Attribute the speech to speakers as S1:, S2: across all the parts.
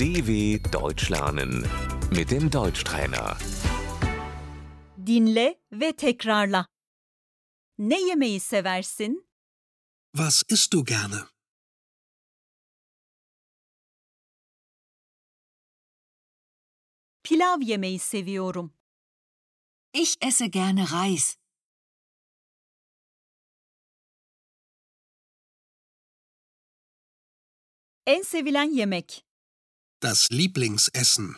S1: DW Deutsch lernen mit dem Deutschtrainer.
S2: Dinle ve tekrarla. Ne yemeği seversin?
S3: Was isst du gerne?
S2: Pilav yemeyi seviyorum.
S4: Ich esse gerne Reis.
S2: En sevilen yemek.
S3: Das Lieblingsessen.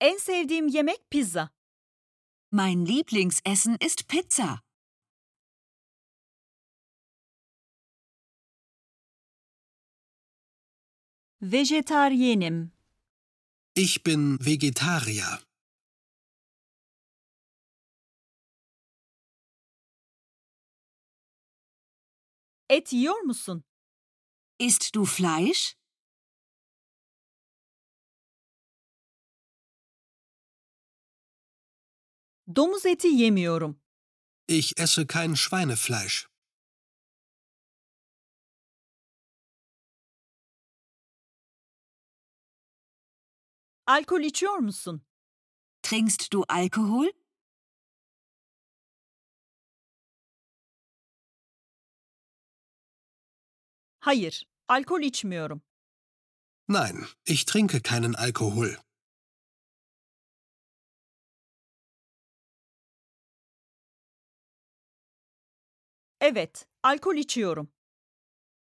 S2: En sevdiğim yemek pizza.
S4: Mein Lieblingsessen ist Pizza.
S2: Vejetaryenim.
S3: Ich bin Vegetarier.
S2: Et yiyor musun?
S4: Isst du Fleisch?
S2: Domuz eti yemiyorum.
S3: Ich esse kein Schweinefleisch.
S2: Alkol içiyor musun?
S4: Trinkst du Alkohol?
S2: Hayır, alkol içmiyorum.
S3: Nein, ich trinke keinen Alkohol.
S2: Evet, alkol içiyorum.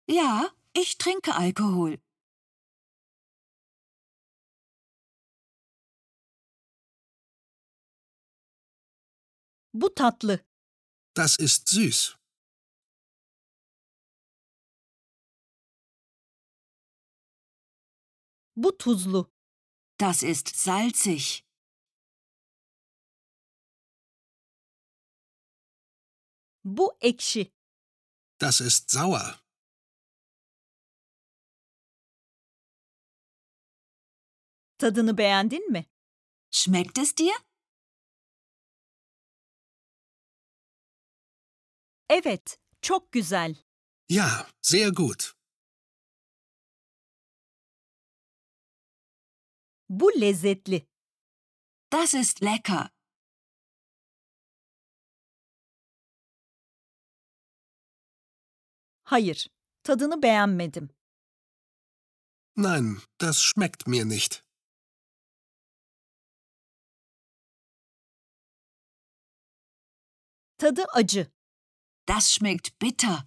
S4: Ja, ich trinke Alkohol.
S2: Bu tatlı.
S3: Das ist süß.
S2: Bu tuzlu.
S4: Das ist salzig.
S2: Bu ekşi.
S3: Das ist sauer.
S2: Tadını beğendin mi?
S4: Schmeckt es dir?
S2: Evet, çok güzel.
S3: Ja, sehr gut.
S2: Bu lezzetli.
S4: Das ist lecker.
S2: Hayır, tadını beğenmedim.
S3: Nein, das schmeckt mir nicht.
S2: Tadı acı.
S4: Das schmeckt bitter.